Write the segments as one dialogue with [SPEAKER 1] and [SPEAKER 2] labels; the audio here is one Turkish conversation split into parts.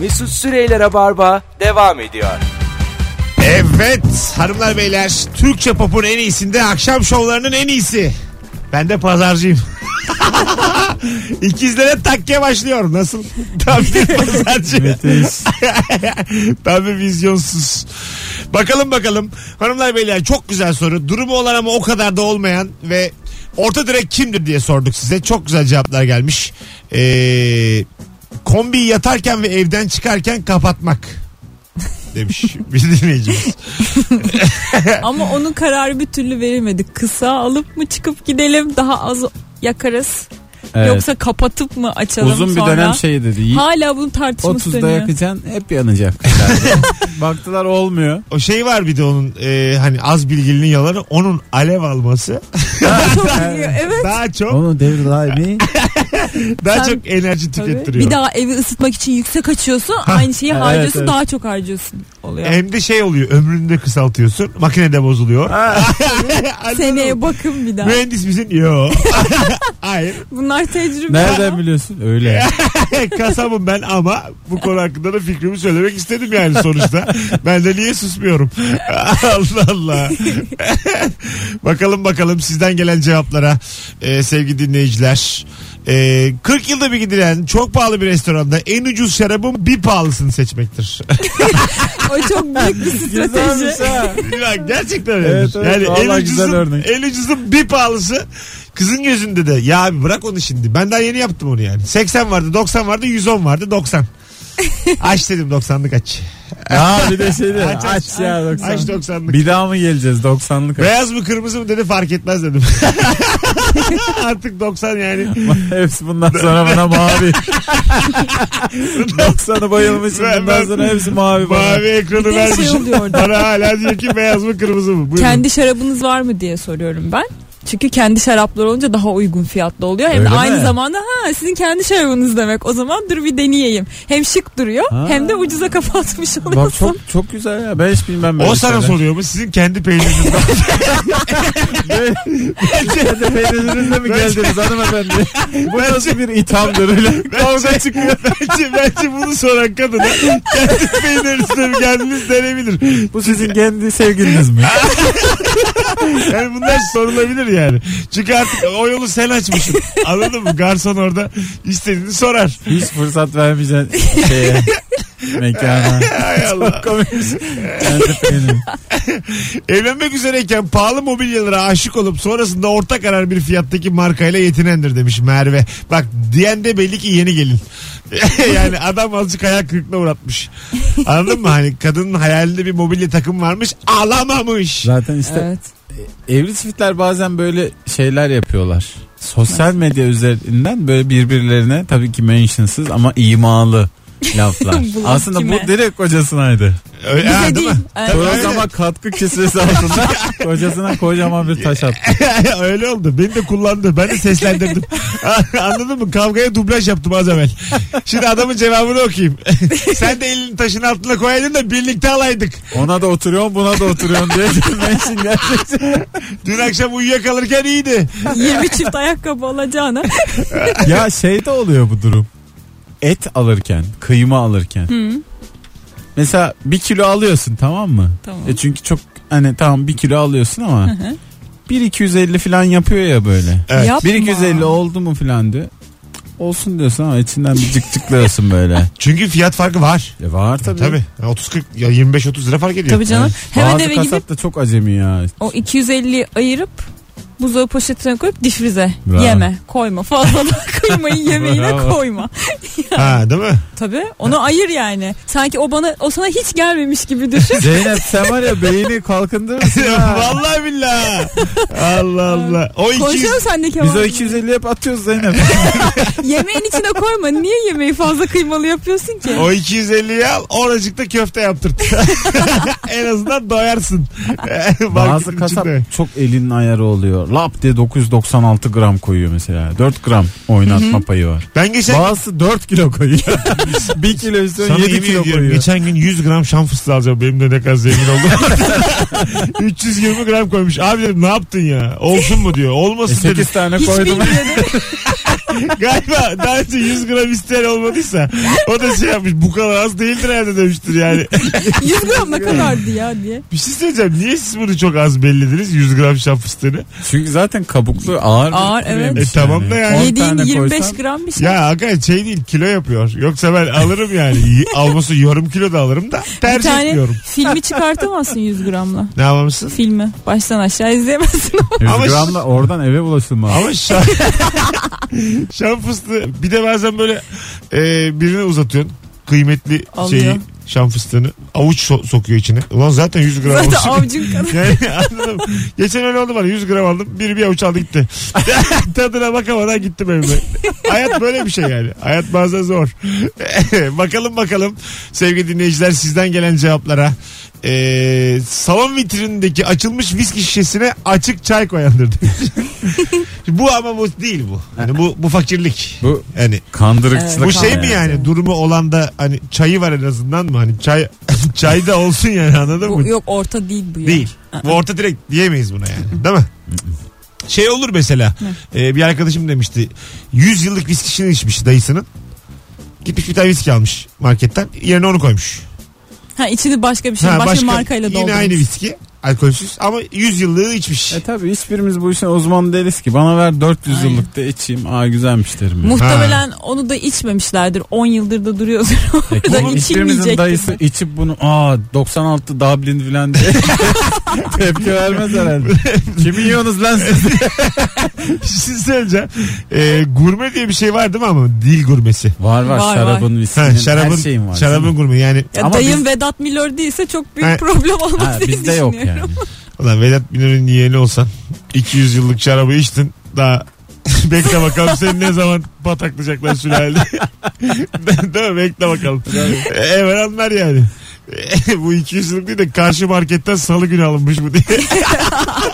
[SPEAKER 1] Mesut Süreyler'e barba devam ediyor.
[SPEAKER 2] Evet hanımlar beyler Türkçe popun en iyisinde akşam şovlarının en iyisi. Ben de pazarcıyım. İkizlere takke başlıyor. Nasıl? Tam bir pazarcı.
[SPEAKER 3] Meteyiz.
[SPEAKER 2] Tam bir vizyonsuz. Bakalım bakalım. Hanımlar beyler çok güzel soru. Durumu olan ama o kadar da olmayan ve orta direk kimdir diye sorduk size. Çok güzel cevaplar gelmiş. Ee, kombi yatarken ve evden çıkarken kapatmak demiş bir dinleyicimiz.
[SPEAKER 4] Ama onun kararı bir türlü verilmedi. Kısa alıp mı çıkıp gidelim daha az yakarız.
[SPEAKER 3] Evet.
[SPEAKER 4] Yoksa kapatıp mı açalım
[SPEAKER 3] Uzun bir
[SPEAKER 4] sonra?
[SPEAKER 3] dönem şey dedi. y-
[SPEAKER 4] Hala bunun tartışması
[SPEAKER 3] 30'da
[SPEAKER 4] dönüyor.
[SPEAKER 3] yakacaksın hep yanacak. Baktılar olmuyor.
[SPEAKER 2] O şey var bir de onun e, hani az bilgilinin yalanı onun alev alması
[SPEAKER 4] Çok iyi, evet.
[SPEAKER 2] daha çok
[SPEAKER 3] Onu devir abi.
[SPEAKER 2] daha
[SPEAKER 4] sen-
[SPEAKER 2] çok enerji
[SPEAKER 4] Tabii.
[SPEAKER 2] tükettiriyor.
[SPEAKER 4] Bir daha evi ısıtmak için yüksek açıyorsun. aynı şeyi
[SPEAKER 3] Evet,
[SPEAKER 4] harcıyorsun
[SPEAKER 3] evet. E,
[SPEAKER 4] daha çok harcıyorsun oluyor.
[SPEAKER 2] Hem de şey oluyor ömrünü de kısaltıyorsun makinede bozuluyor. Anladın
[SPEAKER 4] Seneye
[SPEAKER 2] mı?
[SPEAKER 4] bakın bir daha.
[SPEAKER 2] Mühendis misin? Yo. Hayır.
[SPEAKER 4] Bunlar tecrübe.
[SPEAKER 3] Nereden biliyorsun? Öyle.
[SPEAKER 2] Kasabım ben ama bu konu hakkında da fikrimi söylemek istedim yani sonuçta. Ben de niye susmuyorum? Allah Allah. bakalım bakalım sizden gelen cevaplara Ee, sevgili dinleyiciler. Ee, 40 yılda bir gidilen çok pahalı bir restoranda en ucuz şarabın bir pahalısını seçmektir.
[SPEAKER 4] O çok büyük bir strateji.
[SPEAKER 3] Güzelmiş ha.
[SPEAKER 2] Bak gerçekten öyle.
[SPEAKER 3] Evet, evet.
[SPEAKER 2] yani en
[SPEAKER 3] Vallahi güzel
[SPEAKER 2] ucuzun,
[SPEAKER 3] örnek.
[SPEAKER 2] en ucuzun bir pahalısı kızın gözünde de ya abi bırak onu şimdi. Ben daha yeni yaptım onu yani. 80 vardı 90 vardı 110 vardı 90. aç dedim 90'lık aç.
[SPEAKER 3] Aa, bir de şey de
[SPEAKER 2] Aç,
[SPEAKER 3] aç,
[SPEAKER 2] aç.
[SPEAKER 3] ya 90.
[SPEAKER 2] Aç 90'lık.
[SPEAKER 3] Bir daha mı geleceğiz 90'lık?
[SPEAKER 2] Beyaz mı kırmızı mı dedi fark etmez dedim. Artık 90 yani.
[SPEAKER 3] Hepsi bundan sonra bana mavi. 90'ı bayılmışım
[SPEAKER 2] Ben-
[SPEAKER 3] bundan
[SPEAKER 2] ben-
[SPEAKER 3] sonra hepsi mavi bana.
[SPEAKER 2] Mavi ekranı
[SPEAKER 4] Bir de şey
[SPEAKER 2] vermiş.
[SPEAKER 4] oluyor orada.
[SPEAKER 2] Bana hala diyor ki beyaz mı kırmızı mı? Buyurun.
[SPEAKER 4] Kendi şarabınız var mı diye soruyorum ben. Çünkü kendi şaraplar olunca daha uygun fiyatlı oluyor. Hem de
[SPEAKER 3] Öyle
[SPEAKER 4] aynı
[SPEAKER 3] mi?
[SPEAKER 4] zamanda ha sizin kendi şarabınız demek. O zaman dur bir deneyeyim. Hem şık duruyor
[SPEAKER 3] Ha.
[SPEAKER 4] hem de ucuza kapatmış oluyorsun.
[SPEAKER 3] Bak çok çok güzel ya. Ben hiç bilmem böyle
[SPEAKER 2] O sana
[SPEAKER 3] şeyler.
[SPEAKER 2] soruyor mu? Sizin kendi peyniriniz var.
[SPEAKER 3] Bence de peynirinizle mi geldiniz hanımefendi? Bu nasıl bir ithamdır öyle? Kavga çıkıyor.
[SPEAKER 2] bence, bence bunu soran kadına kendi peynirinizle mi geldiniz denebilir.
[SPEAKER 3] Bu sizin kendi sevgiliniz mi?
[SPEAKER 2] Yani bunlar sorulabilir yani. Çünkü artık o yolu sen açmışsın. Anladın mı? Garson orada istediğini sorar.
[SPEAKER 3] Hiç fırsat vermeyeceksin şeye. Mekana.
[SPEAKER 2] Hay Allah.
[SPEAKER 3] Komikmiş. Kendi peynirim.
[SPEAKER 2] Evlenmek üzereyken pahalı mobilyalara aşık olup sonrasında orta karar bir fiyattaki markayla yetinendir demiş Merve. Bak diyen de belli ki yeni gelin. yani adam azıcık hayal kırıklığına uğratmış. Anladın mı? Hani kadının hayalinde bir mobilya takım varmış alamamış.
[SPEAKER 3] Zaten işte
[SPEAKER 4] Evet.
[SPEAKER 3] evli çiftler bazen böyle şeyler yapıyorlar. Sosyal medya üzerinden böyle birbirlerine tabii ki mentionsız ama imalı laflar.
[SPEAKER 4] Bu
[SPEAKER 3] Aslında
[SPEAKER 4] kime?
[SPEAKER 3] bu direkt kocasınaydı.
[SPEAKER 2] Öyle,
[SPEAKER 4] Bize
[SPEAKER 2] ha, değil
[SPEAKER 4] değil.
[SPEAKER 2] mi?
[SPEAKER 4] Evet.
[SPEAKER 3] Programa katkı kisvesi altında kocasına kocaman bir taş attı.
[SPEAKER 2] Öyle oldu. Beni de kullandı. Ben de seslendirdim. Anladın mı? Kavgaya dublaj yaptım az evvel. Şimdi adamın cevabını okuyayım. Sen de elini taşın altına koyaydın da birlikte alaydık.
[SPEAKER 3] Ona da oturuyorsun buna da oturuyorsun diye mention gerçekten.
[SPEAKER 2] Dün akşam uyuyakalırken iyiydi.
[SPEAKER 4] 20 çift ayakkabı olacağına
[SPEAKER 3] ya şey de oluyor bu durum. Et alırken, kıyma alırken. Mesela bir kilo alıyorsun tamam mı?
[SPEAKER 4] Tamam.
[SPEAKER 3] E çünkü çok hani tamam bir kilo alıyorsun ama 1-250 falan yapıyor ya böyle.
[SPEAKER 2] Evet.
[SPEAKER 4] yapma.
[SPEAKER 3] 1-250 oldu mu falan diyor. Cık, Olsun diyorsun ama içinden bir cık cıklıyorsun böyle.
[SPEAKER 2] Çünkü fiyat farkı var.
[SPEAKER 3] E var tabii.
[SPEAKER 2] Tabii. 30-40 ya 25-30 lira fark ediyor.
[SPEAKER 4] Tabii canım. Hemen
[SPEAKER 3] Bazı
[SPEAKER 4] eve
[SPEAKER 3] kasap
[SPEAKER 4] gidip
[SPEAKER 3] da çok acemi ya.
[SPEAKER 4] o 250 ayırıp buzdolabı poşetine koyup difrize.
[SPEAKER 3] Bravo.
[SPEAKER 4] Yeme, koyma. Fazla da kıymayı yemeğine
[SPEAKER 3] Bravo.
[SPEAKER 4] koyma.
[SPEAKER 2] Ha değil mi?
[SPEAKER 4] Tabii. Onu ayır yani. Sanki o bana o sana hiç gelmemiş gibi düşün.
[SPEAKER 3] Zeynep sen var ya beyni kalkındırırsın ha.
[SPEAKER 2] Vallahi billahi. Allah Allah. O 200
[SPEAKER 4] Konuşuyorum sen de Kemal.
[SPEAKER 3] Biz o 250 hep atıyoruz Zeynep.
[SPEAKER 4] Yemeğin içine koyma. Niye yemeği fazla kıymalı yapıyorsun ki?
[SPEAKER 2] o 250'yi al oracıkta köfte yaptırt. en azından doyarsın. Bak,
[SPEAKER 3] Bazı kasap
[SPEAKER 2] içinde.
[SPEAKER 3] çok elinin ayarı oluyor. lap diye 996 gram koyuyor mesela. 4 gram oynatma payı var.
[SPEAKER 2] Ben geçen
[SPEAKER 3] Bazısı 4 kilo koyuyor. 1 kilo
[SPEAKER 2] Sana
[SPEAKER 3] üstüne 7
[SPEAKER 2] yemin
[SPEAKER 3] kilo
[SPEAKER 2] ediyorum
[SPEAKER 3] koyuyor.
[SPEAKER 2] geçen gün 100 gram şam fıstığı alacağım. Benim de ne kadar zengin oldum. 320 gram koymuş. Abi dedim ne yaptın ya? Olsun mu diyor. Olmasın dedim.
[SPEAKER 3] 8 E, tane
[SPEAKER 4] Hiç
[SPEAKER 3] koydum.
[SPEAKER 4] bilmiyordum.
[SPEAKER 2] Galiba daha önce 100 gram isteyen olmadıysa o da şey yapmış. Bu kadar az değildir herhalde demiştir yani.
[SPEAKER 4] 100 gram ne kadardı ya diye.
[SPEAKER 2] Bir şey söyleyeceğim. Niye siz bunu çok az bellediniz? 100 gram şam fıstığını.
[SPEAKER 3] Çünkü zaten kabuklu ağır.
[SPEAKER 4] Ağır, evet.
[SPEAKER 3] yemiş
[SPEAKER 2] E tamam da yani.
[SPEAKER 3] 10
[SPEAKER 4] Yediğin
[SPEAKER 3] tane
[SPEAKER 4] 25
[SPEAKER 3] koysam-
[SPEAKER 4] gram bir şey.
[SPEAKER 2] Ya aga şey değil kilo yapıyor. Yoksa ben alırım yani. Y- Alması yarım kilo da alırım da
[SPEAKER 4] bir
[SPEAKER 2] tercih
[SPEAKER 4] tane
[SPEAKER 2] etmiyorum.
[SPEAKER 4] filmi çıkartamazsın 100 gramla.
[SPEAKER 2] Ne yapamazsın?
[SPEAKER 4] Filmi baştan aşağı izleyemezsin.
[SPEAKER 3] 100
[SPEAKER 2] Ama-
[SPEAKER 3] gramla oradan eve bulaşılmaz.
[SPEAKER 2] Ama şam, şam fıstığı bir de bazen böyle e, birine uzatıyorsun kıymetli
[SPEAKER 4] Alıyor.
[SPEAKER 2] şeyi şam fıstığını avuç so- sokuyor içine. Ulan zaten 100 gram
[SPEAKER 4] Zaten
[SPEAKER 2] avuç.
[SPEAKER 4] avucun kadar.
[SPEAKER 2] Yani Şey, anladım. Geçen öyle oldu bana 100 gram aldım. Biri bir avuç aldı gitti. Tadına bakamadan gittim evime. Hayat böyle bir şey yani. Hayat bazen zor. bakalım bakalım sevgili dinleyiciler sizden gelen cevaplara. Ee, salon vitrinindeki açılmış viski şişesine açık çay koyandır demiş. bu ama bu değil bu. Yani bu, bu fakirlik.
[SPEAKER 3] Bu
[SPEAKER 2] Yani
[SPEAKER 3] kandırıcılık.
[SPEAKER 2] bu şey mi yani durumu olan da hani çayı var en azından mı? Hani çay çay da olsun yani anladın mı?
[SPEAKER 4] Bu, yok orta değil bu ya.
[SPEAKER 2] Değil. Bu orta direkt diyemeyiz buna yani. Değil mi? Şey olur mesela. e, bir arkadaşım demişti. 100 yıllık viskisini içmiş dayısının. Gitmiş bir tane viski almış marketten. Yerine onu koymuş.
[SPEAKER 4] Ha içini başka bir şey,
[SPEAKER 2] Ha,
[SPEAKER 4] başka, markayla
[SPEAKER 2] Yine
[SPEAKER 4] doldurmuş.
[SPEAKER 2] aynı viski. Alkolsüz ama 100 yıllığı içmiş.
[SPEAKER 3] E tabi hiçbirimiz bu işin uzmanı değiliz ki. Bana ver 400
[SPEAKER 4] Aynen.
[SPEAKER 3] yıllık da içeyim. Aa güzelmiş derim. yani.
[SPEAKER 4] Muhtemelen onu da içmemişlerdir. 10 yıldır da duruyordur
[SPEAKER 3] E,
[SPEAKER 4] orada
[SPEAKER 3] bunun hiçbirimizin
[SPEAKER 4] içilmeyecek.
[SPEAKER 3] dayısı içip bunu aa 96 Dublin filan diye tepki vermez herhalde. Kimi yiyorsunuz lan siz?
[SPEAKER 2] bir şey söyleyeceğim. E, gurme diye bir şey var değil mi ama? Dil gurmesi.
[SPEAKER 3] Var var,
[SPEAKER 4] Var,
[SPEAKER 3] şarabın,
[SPEAKER 2] Ha,
[SPEAKER 3] viskinin,
[SPEAKER 2] şarabın,
[SPEAKER 3] her şeyin var.
[SPEAKER 2] şarabın
[SPEAKER 3] değil mi?
[SPEAKER 2] gurme yani
[SPEAKER 4] Ya
[SPEAKER 3] Ama
[SPEAKER 4] dayın
[SPEAKER 3] biz-
[SPEAKER 4] Vedat Milor değilse çok büyük
[SPEAKER 2] Ha.
[SPEAKER 4] problem olmaz
[SPEAKER 3] Ha,
[SPEAKER 4] diye
[SPEAKER 3] bizde yok
[SPEAKER 4] düşünüyorum.
[SPEAKER 3] yani.
[SPEAKER 2] Ulan Vedat Milor'un yeğeni olsan 200 yıllık şarabı içtin daha bekle bakalım seni ne zaman pataklayacaklar sülalede. De- Değil mi? Bekle bakalım. Hemen anlar yani. bu 200 yıllık değil de karşı marketten salı günü alınmış bu diye.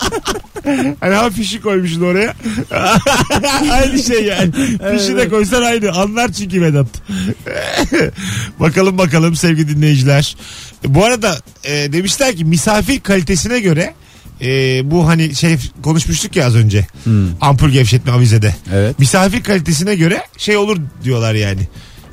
[SPEAKER 2] hani ha fişi koymuşsun oraya. aynı şey yani. Fişi de koysan aynı. Anlar çünkü Vedat. bakalım bakalım sevgili dinleyiciler. Bu arada e, demişler ki misafir kalitesine göre e, bu hani şey konuşmuştuk ya az önce.
[SPEAKER 3] Hmm,
[SPEAKER 2] Ampul gevşetme avizede.
[SPEAKER 3] evet.
[SPEAKER 2] Misafir kalitesine göre şey olur diyorlar yani.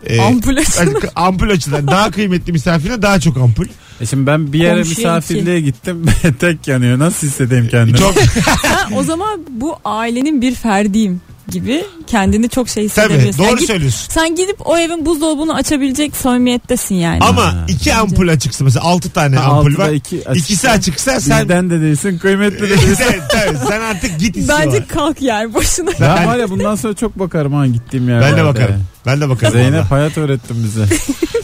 [SPEAKER 2] E,
[SPEAKER 4] Ampul açılır.
[SPEAKER 2] hani ampul açılan daha kıymetli misafirine daha çok ampul.
[SPEAKER 3] E şimdi ben bir yere
[SPEAKER 4] Komşuya
[SPEAKER 3] misafirliğe gittim. Tek yanıyor. Nasıl hissedeyim kendimi?
[SPEAKER 2] Çok
[SPEAKER 4] Ben o zaman bu ailenin bir ferdiyim gibi kendini çok şey
[SPEAKER 2] tabii
[SPEAKER 4] hissedebilirsin.
[SPEAKER 2] doğru
[SPEAKER 4] Sen git-
[SPEAKER 2] söylüyorsun.
[SPEAKER 4] Sen gidip o evin buzdolabını açabilecek samimiyettesin yani.
[SPEAKER 2] Ama iki ampul açıksa mesela altı tane ampul
[SPEAKER 3] Altıda
[SPEAKER 2] var.
[SPEAKER 3] iki açık.
[SPEAKER 2] İkisi açıksa sen
[SPEAKER 3] Bizden de değilsin kıymetli de değilsin.
[SPEAKER 2] Evet, tabii, sen artık git istiyorlar.
[SPEAKER 4] Bence kalk yer boşuna.
[SPEAKER 3] Ben var ya bundan sonra çok bakarım ha gittiğim yerlerde.
[SPEAKER 2] Ben de bakarım. Ben de bakarım.
[SPEAKER 3] Zeynep
[SPEAKER 2] valla.
[SPEAKER 3] hayat öğrettin bize.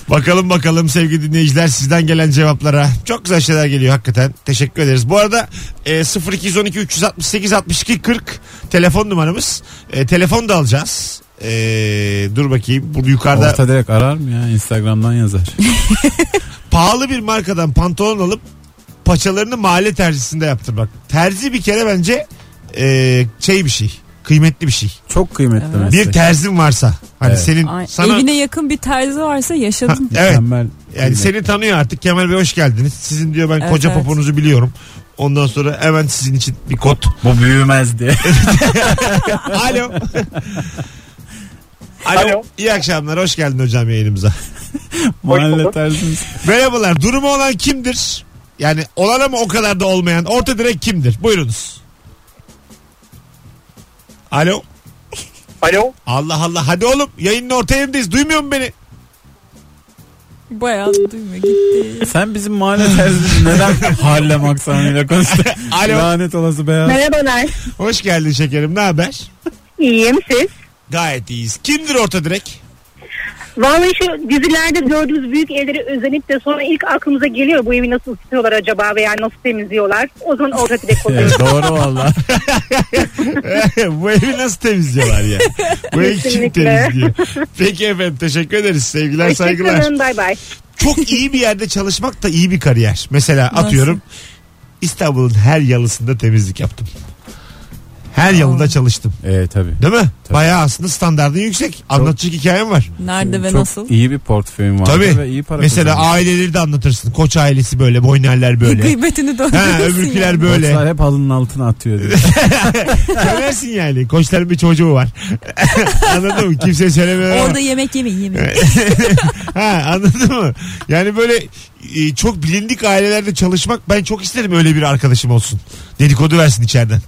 [SPEAKER 2] Bakalım bakalım sevgili dinleyiciler sizden gelen cevaplara. Çok güzel şeyler geliyor hakikaten. Teşekkür ederiz. Bu arada e, 0212 368 62 40 telefon numaramız. E, telefon da alacağız. E, dur bakayım. Burada yukarıda
[SPEAKER 3] Orta direkt arar mı ya? Instagram'dan yazar.
[SPEAKER 2] pahalı bir markadan pantolon alıp paçalarını mahalle terzisinde yaptırmak. Terzi bir kere bence e, şey bir şey. Kıymetli bir şey.
[SPEAKER 3] Çok kıymetli
[SPEAKER 4] Evet.
[SPEAKER 2] Bir
[SPEAKER 3] meslek.
[SPEAKER 2] terzin varsa. Hani
[SPEAKER 3] Evet.
[SPEAKER 2] senin
[SPEAKER 4] Ay,
[SPEAKER 2] sana...
[SPEAKER 4] Evine yakın bir terzi varsa
[SPEAKER 2] Ha,
[SPEAKER 4] yaşadın.
[SPEAKER 2] evet.
[SPEAKER 3] Mükemmel.
[SPEAKER 2] Yani
[SPEAKER 3] kıymet.
[SPEAKER 2] seni tanıyor artık. Kemal Bey hoş geldiniz. Sizin diyor ben
[SPEAKER 4] Evet,
[SPEAKER 2] koca
[SPEAKER 4] evet.
[SPEAKER 2] poponuzu biliyorum. Ondan sonra hemen sizin için bir kod.
[SPEAKER 3] Bu büyümez diye.
[SPEAKER 2] Alo. Alo.
[SPEAKER 5] Alo.
[SPEAKER 2] İyi akşamlar. Hoş geldin hocam yayınımıza.
[SPEAKER 3] Mahalle
[SPEAKER 5] bulduk.
[SPEAKER 3] tersiniz.
[SPEAKER 2] Merhabalar. Durumu olan kimdir? Yani olan ama o kadar da olmayan orta direk kimdir? Buyurunuz. Alo.
[SPEAKER 5] Alo.
[SPEAKER 2] Allah Allah. Hadi oğlum. Yayının orta yerindeyiz. Duymuyor musun beni?
[SPEAKER 4] Bayağı duyma gitti.
[SPEAKER 3] Sen bizim mahalle terzimiz neden Harlem aksanıyla konuştun?
[SPEAKER 2] Alo.
[SPEAKER 3] Lanet olası beyaz.
[SPEAKER 6] Merhabalar.
[SPEAKER 2] Hoş geldin şekerim. Ne haber?
[SPEAKER 6] İyiyim siz.
[SPEAKER 2] Gayet iyiyiz. Kimdir orta direk?
[SPEAKER 6] Vallahi şu dizilerde gördüğümüz büyük evleri özenip de sonra ilk aklımıza geliyor bu evi nasıl ısıtıyorlar acaba veya nasıl temizliyorlar. O zaman orada bir de koyuyoruz.
[SPEAKER 3] Evet, şey. doğru valla.
[SPEAKER 2] bu evi nasıl temizliyorlar ya? Bu evi kim
[SPEAKER 6] Kesinlikle.
[SPEAKER 2] temizliyor? Peki efendim teşekkür ederiz. Sevgiler saygılar.
[SPEAKER 6] Hoşçakalın bay bay.
[SPEAKER 2] Çok iyi bir yerde çalışmak da iyi bir kariyer. Mesela atıyorum İstanbul'un her yalısında temizlik yaptım. Her yılında çalıştım.
[SPEAKER 3] E, tabii.
[SPEAKER 2] Değil mi?
[SPEAKER 3] Tabii.
[SPEAKER 2] Bayağı aslında standardın yüksek. Anlatacak hikayem var.
[SPEAKER 4] Nerede ve
[SPEAKER 3] Çok
[SPEAKER 4] nasıl?
[SPEAKER 3] iyi bir portföyüm var.
[SPEAKER 2] Tabii.
[SPEAKER 3] Ve iyi para
[SPEAKER 2] Mesela
[SPEAKER 3] kazanıyorum.
[SPEAKER 2] aileleri de anlatırsın. Koç ailesi böyle, boynerler böyle.
[SPEAKER 4] Kıymetini
[SPEAKER 2] ha,
[SPEAKER 4] döndürürsün.
[SPEAKER 2] öbürküler
[SPEAKER 4] yani.
[SPEAKER 2] böyle.
[SPEAKER 3] Koçlar hep halının altına atıyor. diyor.
[SPEAKER 2] Söylersin yani. Koçların bir çocuğu var. anladın mı? Kimse söylemiyor. ama-
[SPEAKER 4] Orada yemek yemeyin yemeyin.
[SPEAKER 2] Ha, anladın mı? Yani böyle e, çok bilindik ailelerde çalışmak ben çok isterim öyle bir arkadaşım olsun. Dedikodu versin içeriden.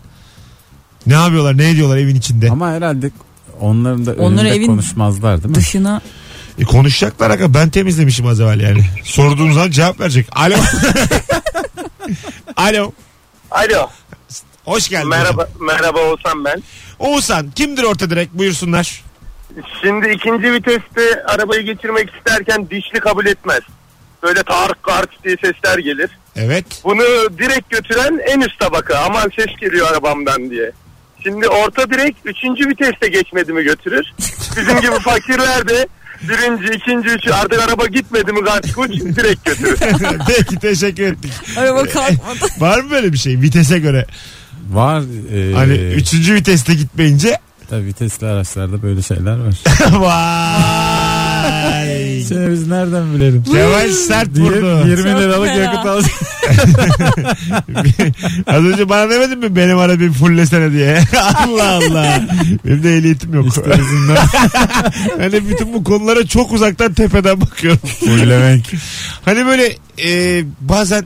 [SPEAKER 2] Ne yapıyorlar, ne ediyorlar evin içinde?
[SPEAKER 3] Ama herhalde onların da
[SPEAKER 4] Onları
[SPEAKER 3] önünde
[SPEAKER 4] evin-
[SPEAKER 3] konuşmazlar değil mi?
[SPEAKER 4] Dışına
[SPEAKER 2] E, konuşacaklar aga ben temizlemişim az evvel yani. Sorduğum zaman cevap verecek. Alo. Alo.
[SPEAKER 5] Alo.
[SPEAKER 2] Hoş geldin.
[SPEAKER 5] Merhaba
[SPEAKER 2] hocam.
[SPEAKER 5] merhaba olsam ben.
[SPEAKER 2] Oğuzhan kimdir orta direkt buyursunlar.
[SPEAKER 5] Şimdi ikinci viteste arabayı geçirmek isterken dişli kabul etmez. Böyle Tarık Kart diye sesler gelir.
[SPEAKER 2] Evet.
[SPEAKER 5] Bunu direkt götüren en üst tabaka. Aman ses geliyor arabamdan diye. Şimdi orta direk üçüncü viteste geçmedi mi götürür. Bizim gibi fakirler de birinci, ikinci, üçü artık araba gitmedi mi kaç kuş direkt götürür.
[SPEAKER 2] Peki teşekkür ettik.
[SPEAKER 4] araba kalkmadı.
[SPEAKER 2] Var mı böyle bir şey vitese göre?
[SPEAKER 3] Var. e,
[SPEAKER 2] Hani üçüncü viteste gitmeyince
[SPEAKER 3] Tabii vitesli araçlarda böyle şeyler var.
[SPEAKER 2] vay.
[SPEAKER 3] Şey, biz nereden bilelim?
[SPEAKER 2] Kemal sert
[SPEAKER 3] Diye
[SPEAKER 2] vurdu.
[SPEAKER 3] 20
[SPEAKER 4] Çok
[SPEAKER 3] liralık
[SPEAKER 4] fena.
[SPEAKER 3] yakıt alacak.
[SPEAKER 2] Az önce bana demedin mi benim arabayı fullesene diye. Allah Allah. Benim de ehliyetim yok.
[SPEAKER 3] İşte bizim
[SPEAKER 2] hani bütün bu konulara çok uzaktan tepeden bakıyorum.
[SPEAKER 3] Fullemek.
[SPEAKER 2] Hani böyle e, bazen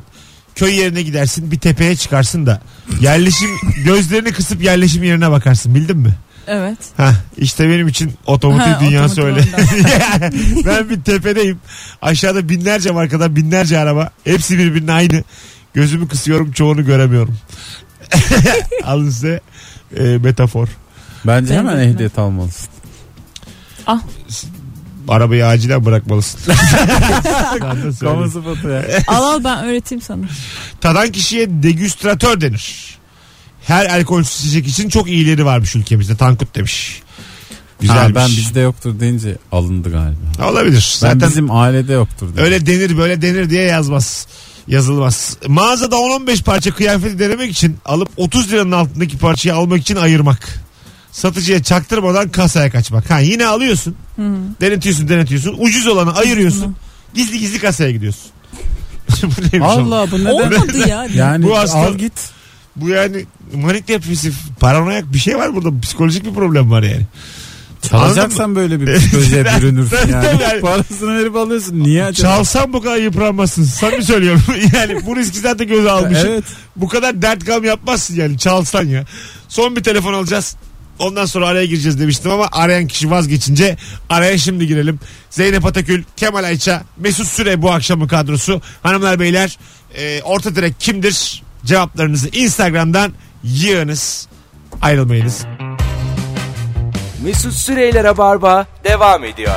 [SPEAKER 2] köy yerine gidersin bir tepeye çıkarsın da yerleşim gözlerini kısıp yerleşim yerine bakarsın bildin mi?
[SPEAKER 4] Evet.
[SPEAKER 2] Ha işte benim için otomotiv
[SPEAKER 4] Ha,
[SPEAKER 2] dünyası
[SPEAKER 4] otomotiv
[SPEAKER 2] öyle. ben bir tepedeyim. Aşağıda binlerce markadan binlerce araba. Hepsi birbirine aynı. Gözümü kısıyorum çoğunu göremiyorum. Alın size e, metafor.
[SPEAKER 3] Bence
[SPEAKER 4] Ben
[SPEAKER 3] hemen
[SPEAKER 4] bilmem.
[SPEAKER 3] ehliyet almalısın.
[SPEAKER 2] Arabayı acilen bırakmalısın. Ben de söyleyeyim.
[SPEAKER 3] Kamu spotu ya.
[SPEAKER 4] Al al ben öğreteyim sana.
[SPEAKER 2] Tadan kişiye degüstratör denir. Her alkolsüz içecek için çok iyileri varmış ülkemizde. Tankut demiş.
[SPEAKER 3] Ha,
[SPEAKER 2] Güzelmiş.
[SPEAKER 3] ben bizde yoktur deyince alındı galiba.
[SPEAKER 2] Olabilir.
[SPEAKER 3] Zaten
[SPEAKER 2] Zaten
[SPEAKER 3] bizim ailede yoktur. dedi.
[SPEAKER 2] Öyle denir böyle denir diye yazmaz. Yazılmaz. Mağazada 10-15 parça kıyafeti denemek için alıp 30 liranın altındaki parçayı almak için ayırmak. Satıcıya çaktırmadan kasaya kaçmak. Ha yine alıyorsun. Denetiyorsun denetiyorsun. Ucuz olanı ayırıyorsun. Gizli gizli kasaya gidiyorsun. bu neymiş oğlum?
[SPEAKER 3] Allah bu neden?
[SPEAKER 4] Olmadı ya.
[SPEAKER 3] Yani
[SPEAKER 2] Bu aslında-
[SPEAKER 3] al git.
[SPEAKER 2] Bu yani manik depresif, paranoyak bir şey var burada. Psikolojik bir problem var yani. Anladın
[SPEAKER 3] Çalacaksan böyle bir psikolojiye bürünürsün
[SPEAKER 2] Tabii,
[SPEAKER 3] yani.
[SPEAKER 2] tabii.
[SPEAKER 3] Parasını verip alıyorsun. Niye acaba?
[SPEAKER 2] Çalsam bu kadar yıpranmazsın. Samimi söylüyorum. yani bu riski zaten göze almışım.
[SPEAKER 3] Evet.
[SPEAKER 2] Bu kadar dert gam yapmazsın yani çalsan ya. Son bir telefon alacağız. Ondan sonra araya gireceğiz demiştim ama arayan kişi vazgeçince araya şimdi girelim. Zeynep Atakül, Kemal Ayça, Mesut Süre bu akşamın kadrosu. Hanımlar beyler e, orta direk kimdir? Cevaplarınızı Instagram'dan yığınız. Ayrılmayınız.
[SPEAKER 1] Mesut Süreyler'e barba devam ediyor.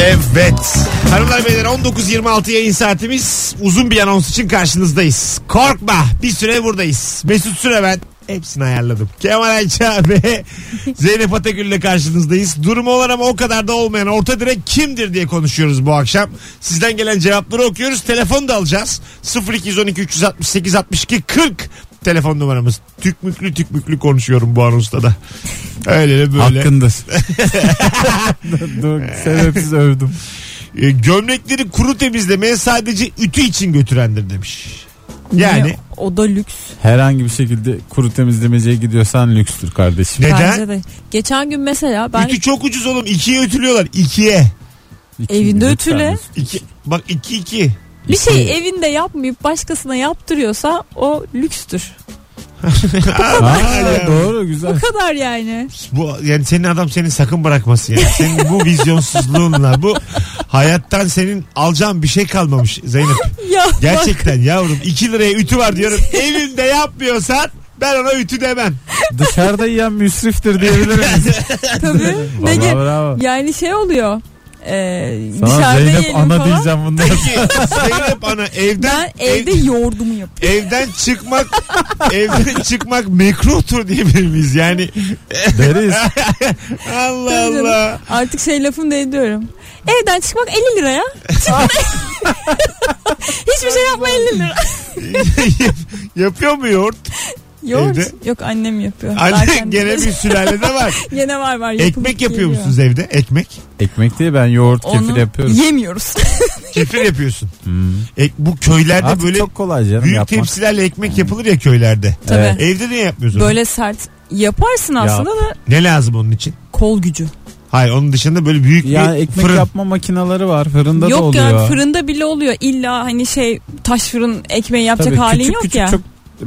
[SPEAKER 2] Evet. Hanımlar beyler 19.26 yayın saatimiz. Uzun bir anons için karşınızdayız. Korkma bir süre buradayız. Mesut Süre ben. Hepsini ayarladım. Kemal Ayça ve Zeynep Atakül ile karşınızdayız. Durumu olan ama o kadar da olmayan orta direk kimdir diye konuşuyoruz bu akşam. Sizden gelen cevapları okuyoruz. Telefon da alacağız. 0212 368 62 40 telefon numaramız. Tükmüklü tükmüklü konuşuyorum bu anonsta da. Öyle böyle.
[SPEAKER 3] Hakkındır. Dur, sebepsiz övdüm.
[SPEAKER 2] E, gömlekleri kuru temizlemeye sadece ütü için götürendir demiş. Yani
[SPEAKER 4] Yani. O da lüks.
[SPEAKER 3] Herhangi bir şekilde kuru temizlemeciye gidiyorsan lükstür kardeşim.
[SPEAKER 2] Neden?
[SPEAKER 4] Bence de. Geçen gün mesela ben
[SPEAKER 2] ütü çok ucuz oğlum. İkiye ütülüyorlar. İkiye.
[SPEAKER 3] İki-
[SPEAKER 4] Evinde
[SPEAKER 3] lütfen
[SPEAKER 4] ütüle.
[SPEAKER 3] lütfen.
[SPEAKER 2] İki, bak iki iki.
[SPEAKER 4] bir şey evinde yapmayıp başkasına yaptırıyorsa o lükstür.
[SPEAKER 3] Aa, doğru güzel.
[SPEAKER 4] Bu kadar yani.
[SPEAKER 2] Bu yani senin adam seni sakın bırakmasın yani. Senin bu vizyonsuzluğunla bu hayattan senin alacağın bir şey kalmamış Zeynep.
[SPEAKER 4] Ya bak
[SPEAKER 2] Gerçekten yavrum 2 liraya ütü var diyorum. Evinde yapmıyorsan ben ona ütü demem.
[SPEAKER 3] Dışarıda yiyen müsriftir diyebilir miyiz?
[SPEAKER 4] tabii. ne
[SPEAKER 3] Vallahi
[SPEAKER 4] ge-
[SPEAKER 3] bravo.
[SPEAKER 4] yani şey oluyor. Ee,
[SPEAKER 3] Sana
[SPEAKER 4] dışarıda
[SPEAKER 3] Zeynep
[SPEAKER 4] yiyelim
[SPEAKER 3] ana
[SPEAKER 4] falan.
[SPEAKER 3] diyeceğim bundan.
[SPEAKER 2] Zeynep ana evden
[SPEAKER 4] Ben evde yoğurdumu yapıyorum.
[SPEAKER 2] evden çıkmak evden çıkmak mekruhtur diyebilir miyiz? Yani
[SPEAKER 3] Deriz.
[SPEAKER 2] Allah
[SPEAKER 4] Tabii canım.
[SPEAKER 2] Allah.
[SPEAKER 4] Artık şey lafını da ediyorum. Evden çıkmak 50 liraya. Hiçbir şey yapma 50 lira.
[SPEAKER 2] Yapıyor mu yoğurt?
[SPEAKER 4] Yoğurt.
[SPEAKER 2] Evde?
[SPEAKER 4] Yok annem yapıyor. Daha
[SPEAKER 2] Anne
[SPEAKER 4] kendim-
[SPEAKER 2] gene bir sülalede var.
[SPEAKER 4] Gene var var. yapılıp
[SPEAKER 2] Ekmek yapıyor
[SPEAKER 4] geliyor.
[SPEAKER 2] musunuz evde? Ekmek.
[SPEAKER 3] Ekmek değil ben yoğurt kefir
[SPEAKER 4] Onu
[SPEAKER 3] yapıyorum.
[SPEAKER 4] yemiyoruz.
[SPEAKER 2] Kefir yapıyorsun. Ek, bu köylerde
[SPEAKER 3] Hmm. Artık
[SPEAKER 2] böyle
[SPEAKER 3] çok kolay canım
[SPEAKER 2] büyük
[SPEAKER 3] yapmak. Hmm.
[SPEAKER 2] tepsilerle ekmek yapılır ya köylerde.
[SPEAKER 4] Tabii.
[SPEAKER 3] Evet.
[SPEAKER 2] Evde niye yapmıyorsunuz?
[SPEAKER 4] Böyle sert yaparsın aslında da
[SPEAKER 2] Ne lazım onun için?
[SPEAKER 4] kol gücü.
[SPEAKER 2] Hayır onun dışında böyle büyük
[SPEAKER 3] Ya
[SPEAKER 2] bir
[SPEAKER 3] ekmek
[SPEAKER 2] fırın.
[SPEAKER 3] yapma makinaları var fırında da
[SPEAKER 4] yok
[SPEAKER 3] oluyor.
[SPEAKER 4] yani fırında bile oluyor. İlla hani şey taş fırın ekmeği yapacak
[SPEAKER 3] Tabii
[SPEAKER 4] halin
[SPEAKER 3] küçük
[SPEAKER 4] yok
[SPEAKER 3] küçük
[SPEAKER 4] ya.
[SPEAKER 3] çok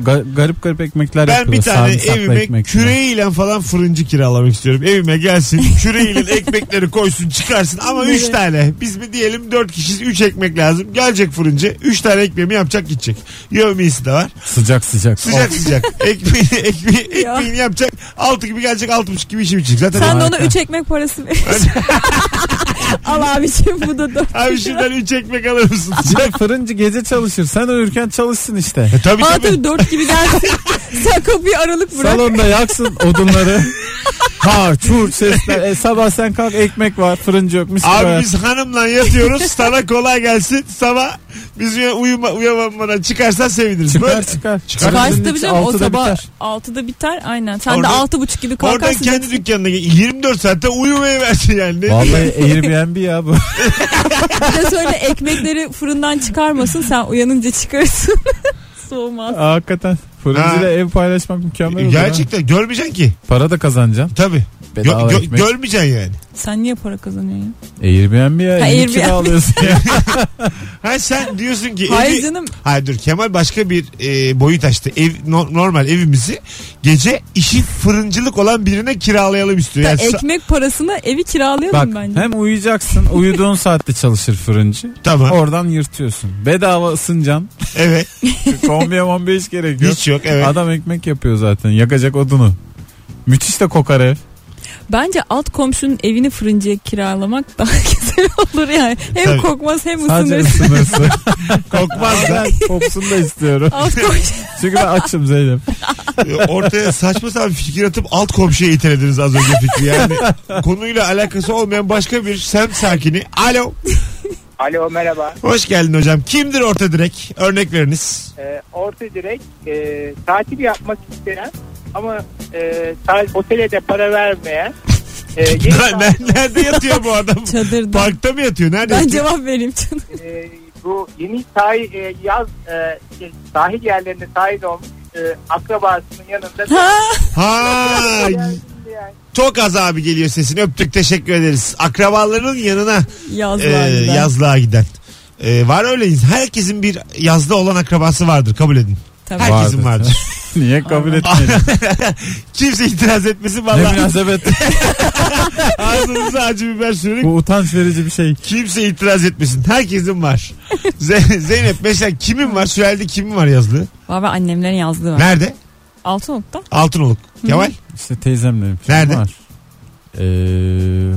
[SPEAKER 3] ga- garip garip ekmekler
[SPEAKER 2] Ben
[SPEAKER 3] yapılıyor.
[SPEAKER 2] bir tane
[SPEAKER 3] Sarımsaklı
[SPEAKER 2] evime
[SPEAKER 3] ekmek falan.
[SPEAKER 2] küreğiyle falan fırıncı kiralamak istiyorum. Evime gelsin küreğiyle ekmekleri koysun çıkarsın ama 3
[SPEAKER 4] Evet.
[SPEAKER 2] tane. Biz mi diyelim 4 kişiyiz 3 ekmek lazım. Gelecek fırıncı 3 tane ekmeğimi yapacak gidecek. Yevmiyesi de var.
[SPEAKER 3] Sıcak sıcak.
[SPEAKER 2] Sıcak sıcak. Ekmeği, ekmeği,
[SPEAKER 4] Ya.
[SPEAKER 2] ekmeğini yapacak. 6 gibi gelecek 6.5 gibi işim çıkacak. Zaten
[SPEAKER 4] Sen de ona
[SPEAKER 3] Harika.
[SPEAKER 4] 3 ekmek parası verirsin. Al abiciğim bu da dört.
[SPEAKER 2] abi şuradan 3 ekmek alır mısın?
[SPEAKER 3] Ya fırıncı gece çalışır. Sen uyurken çalışsın işte.
[SPEAKER 2] E, tabii
[SPEAKER 4] Aa
[SPEAKER 2] tabii.
[SPEAKER 4] tabii dört gibi gelsin. Sen kapıyı aralık bırak.
[SPEAKER 3] Salonda yaksın odunları. ha çur sesler. E, sabah sen kalk ekmek var fırıncı yok. Mis gibi
[SPEAKER 2] Abi
[SPEAKER 3] hayat.
[SPEAKER 2] biz hanımla yatıyoruz. Sana kolay gelsin. Sabah biz uyuma, uyamamana çıkarsan seviniriz. Böyle-
[SPEAKER 3] Çıkar çıkar.
[SPEAKER 2] Çıkar.
[SPEAKER 4] Çıkarsın
[SPEAKER 3] Fırıncı
[SPEAKER 4] tabii canım o
[SPEAKER 3] altıda
[SPEAKER 4] sabah
[SPEAKER 3] biter.
[SPEAKER 4] 6'da biter aynen. Sen
[SPEAKER 2] Orada-
[SPEAKER 4] de altı buçuk gibi
[SPEAKER 2] Oradan
[SPEAKER 4] kalkarsın.
[SPEAKER 2] kendi dükkanına gel- 24 saatte uyumaya versin yani. Ne
[SPEAKER 3] Vallahi
[SPEAKER 2] diyeyim?
[SPEAKER 3] Airbnb ya bu.
[SPEAKER 4] Bir de söyle ekmekleri fırından çıkarmasın sen uyanınca çıkarsın. Soğumaz.
[SPEAKER 3] Hakikaten. Fırıncıyla
[SPEAKER 2] Ha.
[SPEAKER 3] ev paylaşmak mükemmel olur. ha.
[SPEAKER 2] Gerçekten görmeyeceksin ki.
[SPEAKER 3] Para da kazanacaksın.
[SPEAKER 2] Tabii. Gö-
[SPEAKER 3] Bedava
[SPEAKER 2] gö-
[SPEAKER 3] ekmek.
[SPEAKER 2] görmeyeceksin yani.
[SPEAKER 4] Sen niye para kazanıyorsun?
[SPEAKER 3] Airbnb ya.
[SPEAKER 4] Ha,
[SPEAKER 3] Ha,
[SPEAKER 4] Airbnb.
[SPEAKER 3] alıyorsun ya.
[SPEAKER 2] Ha sen diyorsun ki
[SPEAKER 4] Hayır
[SPEAKER 2] evi-
[SPEAKER 4] canım.
[SPEAKER 2] Hayır dur Kemal başka bir e, boyut açtı. Ev no- normal evimizi gece işi fırıncılık olan birine kiralayalım istiyor.
[SPEAKER 4] Ya
[SPEAKER 2] Yani sa-
[SPEAKER 4] ekmek parasına evi kiralayalım
[SPEAKER 3] Bak
[SPEAKER 4] bence.
[SPEAKER 3] hem uyuyacaksın. Uyuduğun saatte çalışır fırıncı.
[SPEAKER 2] Tamam.
[SPEAKER 3] Oradan yırtıyorsun. Bedava ısıncan.
[SPEAKER 2] evet.
[SPEAKER 3] Kombiye mombiye hiç gerek yok.
[SPEAKER 2] Hiç yok evet.
[SPEAKER 3] Adam ekmek yapıyor zaten. Yakacak odunu. Müthiş de kokar ev.
[SPEAKER 4] Bence alt komşunun evini fırıncıya kiralamak daha güzel olur yani. Hem
[SPEAKER 2] Tabii.
[SPEAKER 4] kokmaz hem
[SPEAKER 3] Sadece
[SPEAKER 4] ısınır.
[SPEAKER 3] ısınırsın.
[SPEAKER 2] Kokmaz da.
[SPEAKER 3] ben kopsun da istiyorum.
[SPEAKER 4] Alt komşu.
[SPEAKER 3] Çünkü ben açım Zeynep.
[SPEAKER 2] Ortaya saçma sapan fikir atıp alt komşuya itelediniz az önce fikri. Yani konuyla alakası olmayan başka bir semt sakini. Alo.
[SPEAKER 7] Alo merhaba.
[SPEAKER 2] Hoş geldin hocam. Kimdir orta direk? Örnek veriniz.
[SPEAKER 7] Ee, orta direkt e, tatil yapmak isteyen ama e, ta- otele de para vermeyen e, yeni
[SPEAKER 2] Ne-
[SPEAKER 7] tatil-
[SPEAKER 2] ne- Nerede yatıyor bu adam?
[SPEAKER 4] Çadırda.
[SPEAKER 2] Parkta mı yatıyor? Nerede
[SPEAKER 4] Ben
[SPEAKER 2] yatıyor?
[SPEAKER 4] cevap vereyim canım.
[SPEAKER 7] e, bu yeni sahil e, yaz e, şey, sahil yerlerinde sahil olmuş e, akrabasının yanında da-
[SPEAKER 4] Ha,
[SPEAKER 2] Ha,
[SPEAKER 7] yani.
[SPEAKER 2] çok az abi geliyor sesin. Öptük teşekkür ederiz. Akrabalarının yanına
[SPEAKER 3] Ee,
[SPEAKER 2] e,
[SPEAKER 4] yazlar. gider.
[SPEAKER 2] yazlığa giden. E, var öyle ins- Herkesin bir yazda olan akrabası vardır. Kabul edin.
[SPEAKER 4] Tabii.
[SPEAKER 2] Herkesin vardır.
[SPEAKER 3] Vardır. Niye kabul etmedin?
[SPEAKER 2] Kimse itiraz etmesin
[SPEAKER 3] ne
[SPEAKER 2] valla.
[SPEAKER 3] münasebet.
[SPEAKER 2] Ağzınıza acı biber sürerek
[SPEAKER 3] Bu utanç verici bir şey.
[SPEAKER 2] kimse itiraz etmesin. Herkesin var. Z- Zeynep mesela kimin var? Sülalede kimin var yazlığı?
[SPEAKER 4] Var var annemlerin yazdığı var.
[SPEAKER 2] Nerede?
[SPEAKER 4] Altı nokta.
[SPEAKER 2] Altınoluk. Kemal?
[SPEAKER 3] İşte teyzemlerim.
[SPEAKER 2] Nerede?
[SPEAKER 3] Var. Ee, e,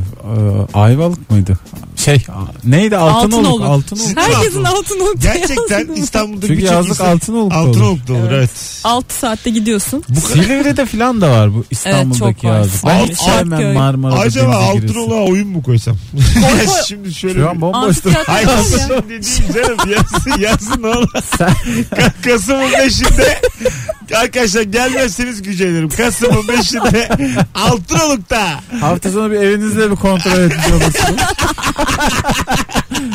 [SPEAKER 3] Ayvalık mıydı? Şey a- neydi? Altınoluk.
[SPEAKER 4] Altınoluk.
[SPEAKER 3] Altınoluk.
[SPEAKER 4] Herkesin altı nokta
[SPEAKER 2] Gerçekten
[SPEAKER 4] yazdığı var.
[SPEAKER 2] İstanbul'da
[SPEAKER 3] Çünkü
[SPEAKER 2] birçok
[SPEAKER 3] yazlık
[SPEAKER 2] insan-
[SPEAKER 3] Altınoluk'ta olur.
[SPEAKER 2] Altınoluk'ta olur evet.
[SPEAKER 4] Altı saatte gidiyorsun.
[SPEAKER 3] Bu Silivri'de filan da var bu İstanbul'daki
[SPEAKER 4] çok var.
[SPEAKER 3] yazlık. Ben hiç
[SPEAKER 4] Silivri.
[SPEAKER 3] sevmem
[SPEAKER 4] Şarköy.
[SPEAKER 3] Marmara'da
[SPEAKER 2] Acaba
[SPEAKER 3] denize giresi.
[SPEAKER 2] Altınoluk'a oyun mu koysam?
[SPEAKER 4] Koy, koy.
[SPEAKER 2] şimdi şöyle
[SPEAKER 3] Şu an
[SPEAKER 2] bir-
[SPEAKER 3] bomboştur.
[SPEAKER 4] Amfiteyatro
[SPEAKER 2] Hayır
[SPEAKER 4] var ya.
[SPEAKER 2] şimdi değil canım yazsın yazsın oğlum. Ka- Kasım'ın 5'inde arkadaşlar gelmezseniz gücenirim. Kasım'ın 5'inde Altınoluk'ta.
[SPEAKER 3] Hafta sonu bir evinizde bir kontrol etmiş olursunuz.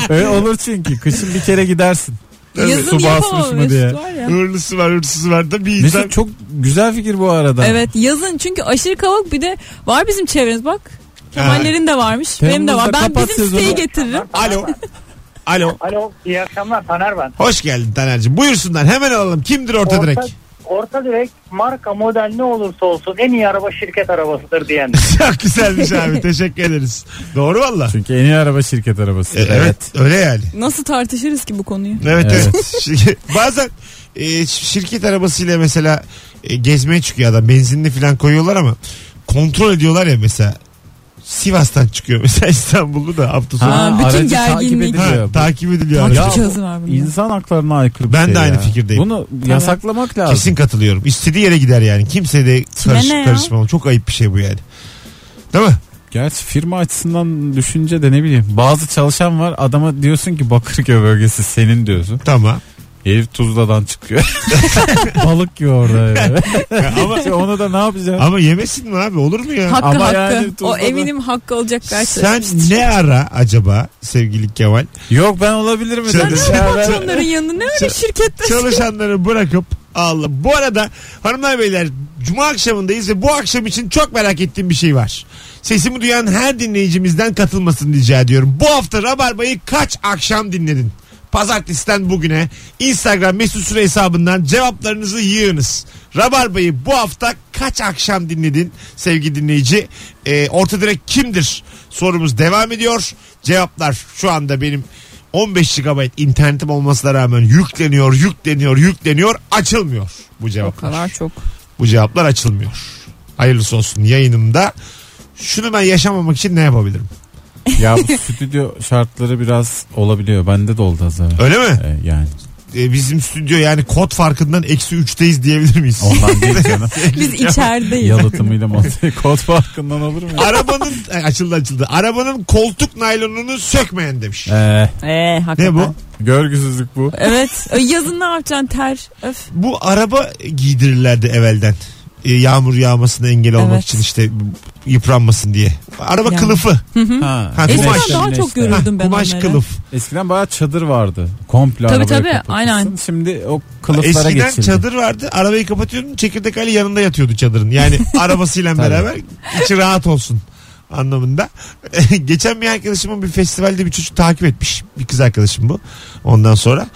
[SPEAKER 3] Öyle olur çünkü. Kışın bir kere gidersin.
[SPEAKER 4] Yazın
[SPEAKER 3] Su basmış
[SPEAKER 4] yapamam
[SPEAKER 3] mı diye.
[SPEAKER 4] Mesut var ya.
[SPEAKER 2] Hırlısı var hırsızı var da bir insan.
[SPEAKER 3] Mesut çok güzel fikir bu arada.
[SPEAKER 4] Evet yazın çünkü aşırı kavak bir de var bizim çevremiz bak. Kemallerin de varmış. Benim de var.
[SPEAKER 3] Temmuz'da
[SPEAKER 4] Ben
[SPEAKER 3] kapat
[SPEAKER 4] bizim
[SPEAKER 3] sezonu.
[SPEAKER 4] siteyi getiririm.
[SPEAKER 2] Alo. Alo.
[SPEAKER 7] Alo iyi akşamlar Taner ben.
[SPEAKER 2] Hoş geldin Taner'cim. Buyursunlar hemen alalım. Kimdir orta, direk?
[SPEAKER 7] Orta direkt marka model ne olursa olsun en iyi araba şirket arabasıdır diyen.
[SPEAKER 2] Çok güzelmiş abi. Teşekkür ederiz. Doğru valla.
[SPEAKER 3] Çünkü en iyi araba şirket arabası.
[SPEAKER 2] E, evet. Öyle yani.
[SPEAKER 4] Nasıl tartışırız ki bu konuyu?
[SPEAKER 2] Evet evet.
[SPEAKER 3] Evet.
[SPEAKER 2] Şir- Bazen e, ş- şirket arabasıyla mesela e, gezmeye çıkıyor adam. Benzinli falan koyuyorlar ama kontrol ediyorlar ya mesela. Sivas'tan çıkıyor mesela İstanbul'da da hafta sonu. Ha,
[SPEAKER 4] Ha, bütün
[SPEAKER 3] aracı
[SPEAKER 4] gerginlik.
[SPEAKER 3] Takip ediliyor.
[SPEAKER 2] takip ediliyor.
[SPEAKER 4] Takip
[SPEAKER 2] araba.
[SPEAKER 4] ediliyor. Cihazı var bunun.
[SPEAKER 3] İnsan haklarına aykırı bir
[SPEAKER 2] Ben
[SPEAKER 3] şey
[SPEAKER 2] de aynı
[SPEAKER 3] ya.
[SPEAKER 2] fikirdeyim.
[SPEAKER 3] Bunu yasaklamak lazım.
[SPEAKER 2] Kesin katılıyorum. İstediği yere gider yani. Kimse de
[SPEAKER 4] Kime
[SPEAKER 2] karış,
[SPEAKER 4] ne ya?
[SPEAKER 2] karışmamalı. Çok ayıp bir şey bu yani. Değil mi?
[SPEAKER 3] Gerçi firma açısından düşünce de ne bileyim. Bazı çalışan var adama diyorsun ki Bakırköy bölgesi senin diyorsun.
[SPEAKER 2] Tamam.
[SPEAKER 3] Herif Tuzla'dan çıkıyor. Balık yiyor orada. Yani. Ama onu da ne yapacağız?
[SPEAKER 2] Ama yemesin mi abi olur mu ya?
[SPEAKER 4] Hakkı
[SPEAKER 3] Ama
[SPEAKER 4] hakkı.
[SPEAKER 3] yani
[SPEAKER 4] o
[SPEAKER 3] Tuzla'da-
[SPEAKER 4] eminim hakkı olacak
[SPEAKER 2] Sen
[SPEAKER 4] karşılaşmıştır.
[SPEAKER 2] ne ara acaba sevgili Kemal?
[SPEAKER 3] Yok ben olabilir mi?
[SPEAKER 2] Sen-
[SPEAKER 3] dedim.
[SPEAKER 2] Sen-
[SPEAKER 3] Ya ben-
[SPEAKER 4] Onların yanına ne öyle şirkette?
[SPEAKER 2] Çalışanları bırakıp Allah. Bu arada hanımlar beyler cuma akşamındayız ve bu akşam için çok merak ettiğim bir şey var. Sesimi duyan her dinleyicimizden katılmasını rica ediyorum. Bu hafta Rabarba'yı kaç akşam dinledin? Pazartesiden bugüne Instagram mesut süre hesabından cevaplarınızı yığınız. Rabarba'yı bu hafta kaç akşam dinledin sevgili dinleyici? Ee, orta direkt kimdir? Sorumuz devam ediyor. Cevaplar şu anda benim 15 GB internetim olmasına rağmen yükleniyor, yükleniyor, yükleniyor. Açılmıyor bu
[SPEAKER 4] O
[SPEAKER 2] cevaplar.
[SPEAKER 4] kadar çok.
[SPEAKER 2] Bu cevaplar açılmıyor. Hayırlısı olsun yayınımda. Şunu ben yaşamamak için ne yapabilirim?
[SPEAKER 3] ya bu stüdyo şartları biraz olabiliyor. Bende de oldu az evvel.
[SPEAKER 2] Öyle mi?
[SPEAKER 3] Ee, yani
[SPEAKER 2] Ee, bizim stüdyo yani kod farkından eksi 3'teyiz diyebilir miyiz?
[SPEAKER 3] ondan değil canım.
[SPEAKER 4] Biz içerideyiz.
[SPEAKER 3] Yalıtımıyla masayı kod farkından olur mu? ya?
[SPEAKER 2] Arabanın Ay, açıldı açıldı. Arabanın koltuk naylonunu sökmeyen demiş.
[SPEAKER 3] Ee,
[SPEAKER 4] Ee, hakikaten.
[SPEAKER 2] Ne bu?
[SPEAKER 3] görgüsüzlük bu.
[SPEAKER 4] Evet. Ö, Yazın ne yapacaksın ter? Öf.
[SPEAKER 2] Bu araba giydirirlerdi evvelden. Ee, Yağmur yağmasına engel olmak
[SPEAKER 4] Evet.
[SPEAKER 2] için işte yıpranmasın diye. Araba
[SPEAKER 4] Yani.
[SPEAKER 2] kılıfı.
[SPEAKER 3] Ha,
[SPEAKER 2] Ha,
[SPEAKER 3] güneş,
[SPEAKER 4] Eskiden
[SPEAKER 2] kumaş.
[SPEAKER 4] daha
[SPEAKER 3] güneş
[SPEAKER 4] çok
[SPEAKER 3] de.
[SPEAKER 4] görürdüm ben
[SPEAKER 2] Kumaş
[SPEAKER 4] onları.
[SPEAKER 2] kılıf.
[SPEAKER 3] Eskiden bayağı çadır vardı. Komple
[SPEAKER 4] Tabii,
[SPEAKER 3] arabayı
[SPEAKER 4] tabii,
[SPEAKER 3] kapatırsın.
[SPEAKER 4] aynen.
[SPEAKER 3] Şimdi o kılıflara
[SPEAKER 2] Eskiden
[SPEAKER 3] geçildi.
[SPEAKER 2] çadır vardı. Arabayı kapatıyordun. Çekirdek Ali yanında yatıyordu çadırın. Yani arabasıyla
[SPEAKER 3] Tabii.
[SPEAKER 2] beraber içi rahat olsun anlamında. Geçen bir arkadaşımın bir festivalde bir çocuk takip etmiş. Bir kız arkadaşım bu. Ondan sonra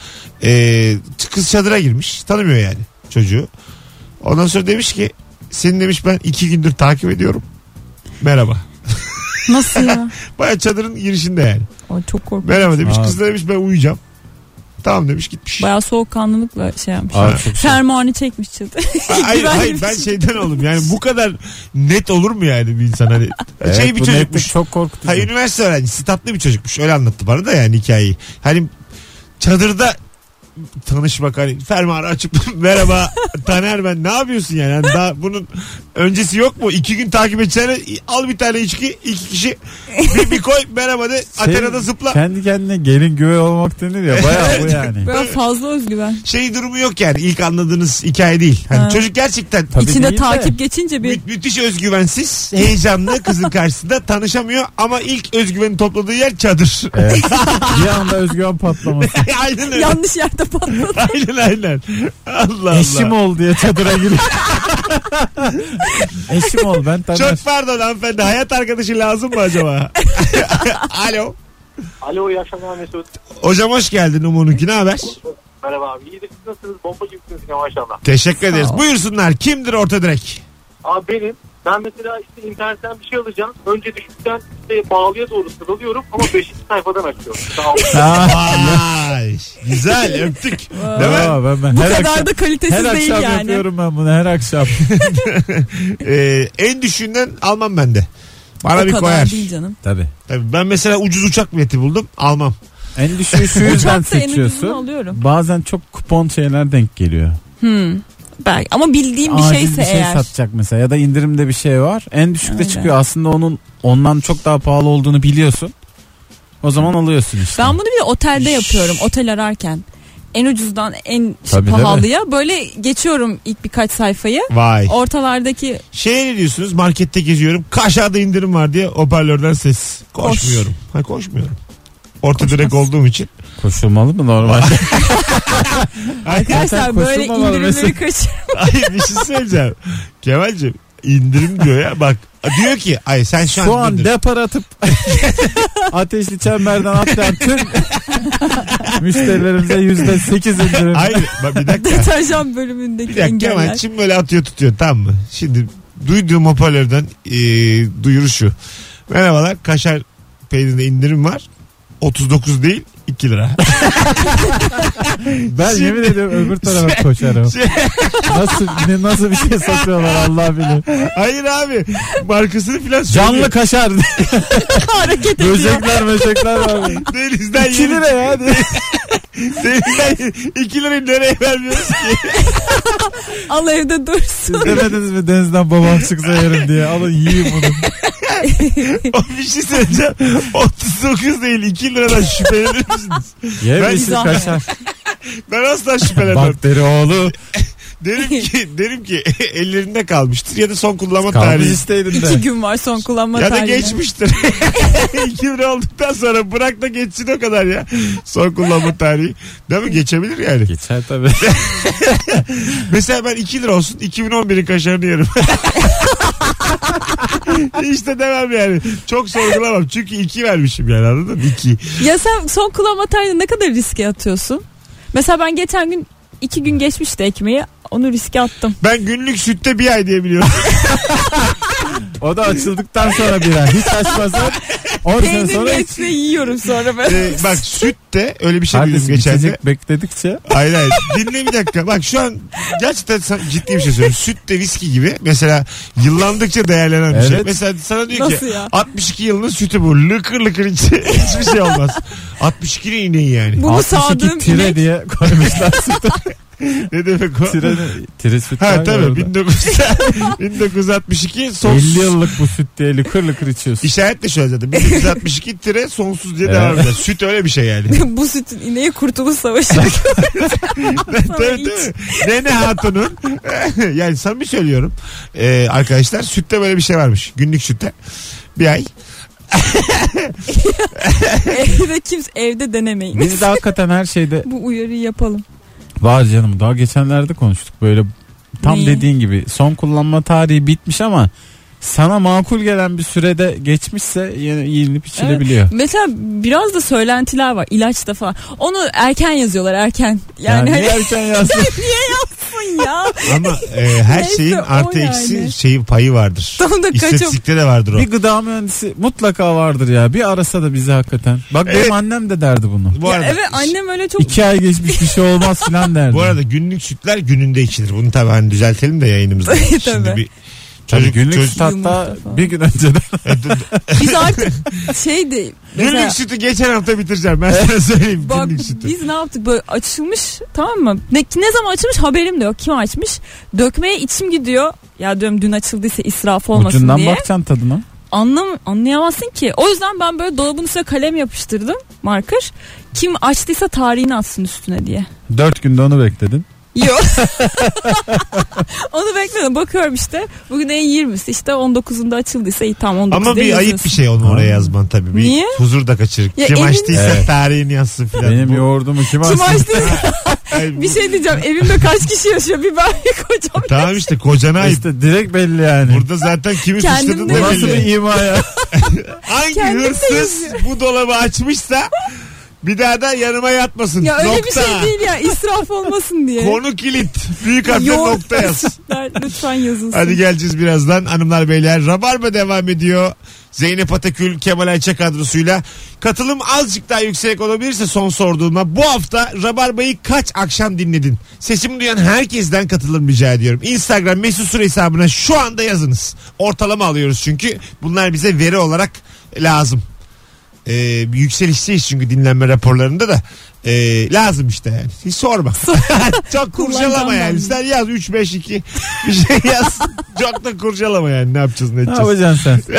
[SPEAKER 2] ee, kız çadıra girmiş. Tanımıyor yani çocuğu. Ondan sonra demiş ki seni demiş ben iki gündür takip ediyorum. Merhaba.
[SPEAKER 4] Nasıl ya?
[SPEAKER 2] Baya çadırın girişinde yani.
[SPEAKER 4] O çok korkunç.
[SPEAKER 2] Merhaba demiş.
[SPEAKER 3] Aa.
[SPEAKER 2] Kız da demiş ben uyuyacağım. Tamam demiş gitmiş.
[SPEAKER 4] Bayağı soğukkanlılıkla şey yapmış.
[SPEAKER 3] Aa, çok şey.
[SPEAKER 4] Fermuarını çekmiş çıldı.
[SPEAKER 2] Hayır,
[SPEAKER 4] Güvenli
[SPEAKER 2] hayır
[SPEAKER 4] bir
[SPEAKER 2] ben
[SPEAKER 4] şey.
[SPEAKER 2] şeyden oldum yani bu kadar net olur mu yani bir insan hani
[SPEAKER 3] Evet,
[SPEAKER 2] şey bir
[SPEAKER 3] bu netlik
[SPEAKER 2] çocukmuş
[SPEAKER 3] Çok korkutucu.
[SPEAKER 2] hayır üniversite öğrencisi tatlı bir çocukmuş öyle anlattı bana da yani hikayeyi hani çadırda tanışmak hani fermuarı açıp merhaba Taner ben ne yapıyorsun yani Hani daha bunun öncesi yok mu iki gün takip edeceğine al bir tane içki iki kişi bir, bir koy merhaba de
[SPEAKER 3] Şey,
[SPEAKER 2] Atena'da zıpla
[SPEAKER 3] Kendi kendine gelin güve olmak denir ya. Bayağı bu yani.
[SPEAKER 4] Böyle fazla özgüven.
[SPEAKER 2] şey durumu yok yani ilk anladığınız hikaye değil hani
[SPEAKER 4] Ha.
[SPEAKER 2] çocuk gerçekten
[SPEAKER 3] Tabii
[SPEAKER 4] İçinde
[SPEAKER 3] değil de.
[SPEAKER 4] takip geçince bir
[SPEAKER 2] Mü- müthiş özgüvensiz, heyecanlı kızın karşısında tanışamıyor ama ilk özgüveni topladığı yer çadır.
[SPEAKER 3] Evet. bir anda özgüven patlaması.
[SPEAKER 2] aynen öyle.
[SPEAKER 4] yanlış yerde patladı.
[SPEAKER 2] aynen aynen. Allah Allah.
[SPEAKER 3] Eşim ol diye çadıra giriyor. Eşim ol ben Taner.
[SPEAKER 2] Çok pardon hanımefendi. Hayat arkadaşı lazım mı acaba? Alo.
[SPEAKER 7] Alo iyi akşamlar Mesut.
[SPEAKER 2] Hocam hoş geldin Umu'nunki. Ne haber?
[SPEAKER 7] Merhaba abi. İyidir siz nasılsınız? Bomba gibisiniz yine maşallah.
[SPEAKER 2] Teşekkür ederiz.
[SPEAKER 4] ol.
[SPEAKER 2] Buyursunlar. Kimdir orta direk?
[SPEAKER 7] Abi benim ben mesela işte internetten bir şey alacağım. Önce düşükten işte bağlıya doğru sıralıyorum ama 5. sayfadan açıyorum. Sağ olun.
[SPEAKER 3] Ha.
[SPEAKER 2] Vay. Güzel öptük. Değil mi?
[SPEAKER 3] Aa, ben, ben
[SPEAKER 4] Bu
[SPEAKER 3] her
[SPEAKER 4] kadar
[SPEAKER 3] akşam,
[SPEAKER 4] da kalitesiz
[SPEAKER 3] her
[SPEAKER 4] değil
[SPEAKER 3] akşam
[SPEAKER 4] yani.
[SPEAKER 3] yapıyorum ben bunu her akşam.
[SPEAKER 2] Ee, en düşüğünden almam ben de. Bana
[SPEAKER 4] o
[SPEAKER 2] bir
[SPEAKER 4] kadar
[SPEAKER 2] koyar.
[SPEAKER 4] değil canım.
[SPEAKER 3] Tabii.
[SPEAKER 2] Tabii ben mesela ucuz uçak bileti buldum. Almam.
[SPEAKER 3] En düşüğü şu yüzden
[SPEAKER 4] Uçakta en ucuzunu
[SPEAKER 3] seçiyorsun.
[SPEAKER 4] alıyorum.
[SPEAKER 3] Bazen çok kupon şeyler denk geliyor.
[SPEAKER 4] Hmm. Belki. Ama bildiğim bir
[SPEAKER 3] Acil
[SPEAKER 4] şeyse
[SPEAKER 3] bir şey
[SPEAKER 4] eğer.
[SPEAKER 3] satacak mesela ya da indirimde bir şey var. En düşükte
[SPEAKER 4] Öyle.
[SPEAKER 3] çıkıyor. Aslında onun ondan çok daha pahalı olduğunu biliyorsun. O zaman alıyorsun işte.
[SPEAKER 4] Ben bunu bir de otelde yapıyorum. Otel ararken. En ucuzdan en
[SPEAKER 3] Tabii,
[SPEAKER 4] pahalıya. Böyle geçiyorum ilk birkaç sayfayı.
[SPEAKER 2] Vay.
[SPEAKER 4] Ortalardaki
[SPEAKER 2] Şey ne diyorsunuz markette geziyorum aşağıda indirim var diye hoparlörden ses. Koşmuyorum. Ha, koşmuyorum. Orta direk olduğum için.
[SPEAKER 3] Koşulmalı mı normal?
[SPEAKER 4] arkadaşlar
[SPEAKER 3] koşulma
[SPEAKER 4] böyle
[SPEAKER 3] var
[SPEAKER 4] indirimleri
[SPEAKER 3] mesela.
[SPEAKER 4] kaç.
[SPEAKER 2] Hayır bir şey söyleyeceğim. Kemal'cim indirim diyor ya bak. Diyor ki ay sen şu,
[SPEAKER 3] Şu an
[SPEAKER 2] indirim.
[SPEAKER 3] depar atıp ateşli çemberden atlayan tüm müşterilerimize yüzde sekiz indirim.
[SPEAKER 2] Hayır bak bir dakika.
[SPEAKER 4] Deterjan bölümündeki
[SPEAKER 2] Bir dakika
[SPEAKER 4] engeller.
[SPEAKER 2] Kemal şimdi böyle atıyor tutuyor tamam mı? Şimdi duyduğum hoparlörden e, duyuru şu. Merhabalar kaşar peynirinde indirim var. 39 değil 2 lira.
[SPEAKER 3] Ben
[SPEAKER 2] Şimdi-
[SPEAKER 3] yemin ediyorum öbür tarafa koşarım.
[SPEAKER 2] Şey-
[SPEAKER 3] Nasıl ne, nasıl bir şey satıyorlar Allah bilir.
[SPEAKER 2] Hayır abi markasını filan
[SPEAKER 3] Canlı
[SPEAKER 2] söylüyor.
[SPEAKER 3] kaşar.
[SPEAKER 4] Hareket ediyor.
[SPEAKER 3] Böcekler meşekler var.
[SPEAKER 2] Denizden
[SPEAKER 3] 2
[SPEAKER 2] yeni
[SPEAKER 3] lira ya.
[SPEAKER 2] Denizden 2 lirayı nereye vermiyoruz ki?
[SPEAKER 4] Al evde dursun.
[SPEAKER 3] Siz demediniz mi denizden babam çıksa yerim diye. Alın yiyin bunu.
[SPEAKER 2] O bir şey söyleyeceğim. 39 değil 2 liradan şüphelenir misiniz?
[SPEAKER 3] Ye
[SPEAKER 2] Ben-
[SPEAKER 3] bir şey kaşar.
[SPEAKER 2] Ben asla şüphelenmem.
[SPEAKER 3] Bakteri oğlu.
[SPEAKER 2] derim ki derim ki ellerinde kalmıştır ya da son kullanma
[SPEAKER 3] Kalmış
[SPEAKER 2] tarihi.
[SPEAKER 3] isteydin
[SPEAKER 4] İki
[SPEAKER 3] de.
[SPEAKER 4] gün var son kullanma
[SPEAKER 2] Ya da
[SPEAKER 4] tarihine.
[SPEAKER 2] geçmiştir. Kimre olduktan sonra bırak da geçsin o kadar ya. Son kullanma tarihi. Değil mi? Geçebilir yani.
[SPEAKER 3] Geçer tabii.
[SPEAKER 2] Mesela ben 2 lira olsun 2011'in kaşarını yerim. işte demem yani. Çok sorgulamam. Çünkü 2 vermişim yani anladın mı? 2.
[SPEAKER 4] Ya sen son kullanma tarihini ne kadar riske atıyorsun? Mesela ben geçen gün iki gün geçmişti ekmeği. Onu riske attım.
[SPEAKER 2] Ben günlük sütte bir ay diye biliyorum.
[SPEAKER 3] O da açıldıktan sonra bir ay. Hiç açmazsan 10 sene
[SPEAKER 4] Peynirli
[SPEAKER 3] sonra
[SPEAKER 4] ekmeği yiyorum sonra ben.
[SPEAKER 2] Ee, bak süt de öyle bir şey duydum
[SPEAKER 3] Kardeşim
[SPEAKER 2] geçen de.
[SPEAKER 3] içecek bekledikçe
[SPEAKER 2] Hayır hayır. Dinle bir dakika. Bak şu an gerçekten sa- ciddi bir şey söylüyorum. Süt de viski gibi. Mesela yıllandıkça değerlenen bir şey.
[SPEAKER 3] Evet.
[SPEAKER 2] Mesela sana diyor
[SPEAKER 4] Nasıl
[SPEAKER 2] ki
[SPEAKER 4] ya?
[SPEAKER 2] 62 yılının sütü bu. Lıkır lıkır iç. Hiçbir şey olmaz. 62'nin ineği yani.
[SPEAKER 4] Bunu
[SPEAKER 3] 62
[SPEAKER 4] sağdığım
[SPEAKER 3] tire
[SPEAKER 4] inek
[SPEAKER 3] diye koymuşlar sütü.
[SPEAKER 2] Ne demek o?
[SPEAKER 3] tire, tire süt var
[SPEAKER 2] Ha
[SPEAKER 3] ya
[SPEAKER 2] tabii
[SPEAKER 3] orada.
[SPEAKER 2] 1900, 1962 sonsuz.
[SPEAKER 3] 50 yıllık bu süt diye lıkır lıkır içiyorsun.
[SPEAKER 2] İşaret de şöyle zaten. 1962 tire sonsuz diye
[SPEAKER 3] Evet.
[SPEAKER 2] devam eder. Süt öyle bir şey yani.
[SPEAKER 4] bu sütün ineği kurtuluş savaşı.
[SPEAKER 2] tabii tabii. Nene Hatun'un yani samimi söylüyorum Ee, arkadaşlar sütte böyle bir şey varmış. Günlük sütte. Bir ay.
[SPEAKER 4] evde kimse evde denemeyin.
[SPEAKER 3] Biz de hakikaten her şeyde
[SPEAKER 4] Bu uyarıyı yapalım.
[SPEAKER 3] var canım. Daha geçenlerde konuştuk böyle tam
[SPEAKER 4] Neyi?
[SPEAKER 3] dediğin gibi son kullanma tarihi bitmiş ama sana makul gelen bir sürede geçmişse yine yenilip içilebiliyor.
[SPEAKER 4] Mesela biraz da söylentiler var ilaçta falan. Onu erken yazıyorlar erken. Yani,
[SPEAKER 3] Yani,
[SPEAKER 4] hani
[SPEAKER 3] yerken yazsın.
[SPEAKER 4] yapın ya.
[SPEAKER 2] Ama e, her
[SPEAKER 4] Neyse,
[SPEAKER 2] şeyin
[SPEAKER 4] o
[SPEAKER 2] artı
[SPEAKER 4] yani.
[SPEAKER 2] eksi şeyin payı vardır.
[SPEAKER 4] Tam da kaçım.
[SPEAKER 2] İstatistikte de vardır o.
[SPEAKER 3] bir gıda mühendisi mutlaka vardır ya. Bir arasa da bizi hakikaten. Bak
[SPEAKER 2] Evet.
[SPEAKER 3] benim annem de derdi bunu.
[SPEAKER 2] Bu arada,
[SPEAKER 4] evet annem öyle çok
[SPEAKER 3] İki ay geçmiş bir şey olmaz filan derdi.
[SPEAKER 2] bu arada günlük sütler gününde içilir. Bunu tabii hani düzeltelim de yayınımızda.
[SPEAKER 4] Tabii.
[SPEAKER 2] Şimdi bir
[SPEAKER 3] Tabii
[SPEAKER 2] çocuk,
[SPEAKER 3] günlük
[SPEAKER 2] çocuk-
[SPEAKER 3] süt hatta
[SPEAKER 4] Yumurta falan.
[SPEAKER 3] bir gün önceden.
[SPEAKER 4] biz artık şeydi. Mesela,
[SPEAKER 2] günlük sütü geçen hafta bitireceğim. Ben sana söyleyeyim
[SPEAKER 4] bak
[SPEAKER 2] günlük sütü.
[SPEAKER 4] biz ne yaptık böyle açılmış tamam mı? Ne, ne zaman açılmış haberim de yok. Kim açmış? Dökmeye içim gidiyor. Ya diyorum dün açıldıysa israf olmasın
[SPEAKER 3] Ucundan
[SPEAKER 4] diye.
[SPEAKER 3] bakacaksın tadına.
[SPEAKER 4] anlam anlayamazsın ki. O yüzden ben böyle dolabın üstüne kalem yapıştırdım marker. Kim açtıysa tarihini atsın üstüne diye.
[SPEAKER 3] Dört günde onu bekledin.
[SPEAKER 4] Yok. Onu bekledim. Bakıyorum işte. Bugün en 20'si işte 19'unda açıldıysa iyi tamam 19'da
[SPEAKER 2] Ama bir ayıp bir şey onu oraya yazman tabii. Bir
[SPEAKER 4] Niye?
[SPEAKER 2] huzur da kaçırır.
[SPEAKER 4] Ya
[SPEAKER 2] Kim
[SPEAKER 4] evin-
[SPEAKER 2] açtıysa
[SPEAKER 3] Evet.
[SPEAKER 2] tarihini yazsın filan.
[SPEAKER 3] Benim
[SPEAKER 2] Bu-
[SPEAKER 3] yoğurdumu kim
[SPEAKER 4] Kim
[SPEAKER 3] alsın?
[SPEAKER 4] açtı?
[SPEAKER 2] Ay, bu-
[SPEAKER 4] bir şey diyeceğim. Evimde kaç kişi yaşıyor? Bir ben bir kocam.
[SPEAKER 2] Tamam işte kocana ayıp.
[SPEAKER 3] İşte direkt belli yani.
[SPEAKER 2] Burada zaten kimi
[SPEAKER 4] Kendim
[SPEAKER 2] suçladın da
[SPEAKER 4] de-
[SPEAKER 3] Bu nasıl
[SPEAKER 2] belli.
[SPEAKER 3] bir ima ya?
[SPEAKER 2] Hangi
[SPEAKER 4] Kendim de
[SPEAKER 2] hırsız bu dolabı açmışsa bir daha da yanıma yatmasın.
[SPEAKER 4] Ya öyle
[SPEAKER 2] nokta.
[SPEAKER 4] bir şey değil ya. israf olmasın diye.
[SPEAKER 2] Konu kilit. Büyük harfle
[SPEAKER 4] Yoğurt
[SPEAKER 2] nokta yaz.
[SPEAKER 4] kaşıklar Lütfen yazılsın.
[SPEAKER 2] Hadi geleceğiz birazdan. Hanımlar beyler Rabarba devam ediyor. Zeynep Atakül, Kemal Ayça kadrosuyla. Katılım azıcık daha yüksek olabilirse son sorduğuma bu hafta Rabarba'yı kaç akşam dinledin? Sesimi duyan herkesten katılım rica ediyorum. Instagram mesut süre hesabına şu anda yazınız. Ortalama alıyoruz çünkü bunlar bize veri olarak lazım. Ee, yükselişteyiz çünkü dinlenme raporlarında da. Ee, lazım işte yani. Hiç sorma. Çok kurcalama
[SPEAKER 4] Kullanacağım ben
[SPEAKER 2] yani.
[SPEAKER 4] bunu.
[SPEAKER 2] Sen yaz 3 5 2 bir şey yaz. Çok da kurcalama yani ne yapacağız ne
[SPEAKER 3] Ne
[SPEAKER 2] edeceğiz.
[SPEAKER 3] yapacaksın sen?